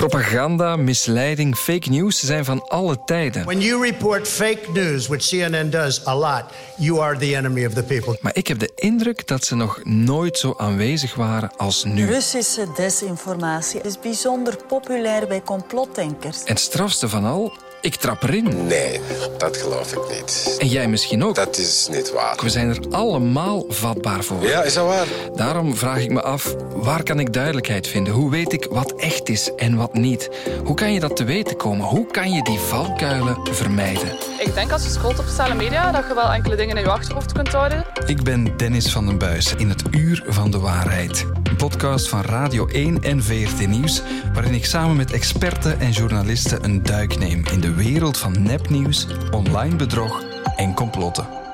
Propaganda, misleiding, fake news zijn van alle tijden. When you report fake news, which CNN does a lot, you are the enemy of the people. Maar ik heb de indruk dat ze nog nooit zo aanwezig waren als nu. Russische desinformatie is bijzonder populair bij complotdenkers. En het strafste van al, ik trap erin. Nee, dat geloof ik niet. En jij misschien ook. Dat is niet waar. We zijn er allemaal vatbaar voor. Ja, is dat waar? Daarom vraag ik me af, waar kan ik duidelijkheid vinden? Hoe weet ik wat echt is en wat niet? Hoe kan je dat te weten komen? Hoe kan je die valkuilen vermijden? Ik denk als je scrolt op sociale media dat je wel enkele dingen in je achterhoofd kunt houden. Ik ben Dennis van den Buis in het Uur van de Waarheid. Een podcast van Radio 1 en VRT Nieuws, waarin ik samen met experten en journalisten een duik neem in de wereld van nepnieuws, online bedrog en complotten.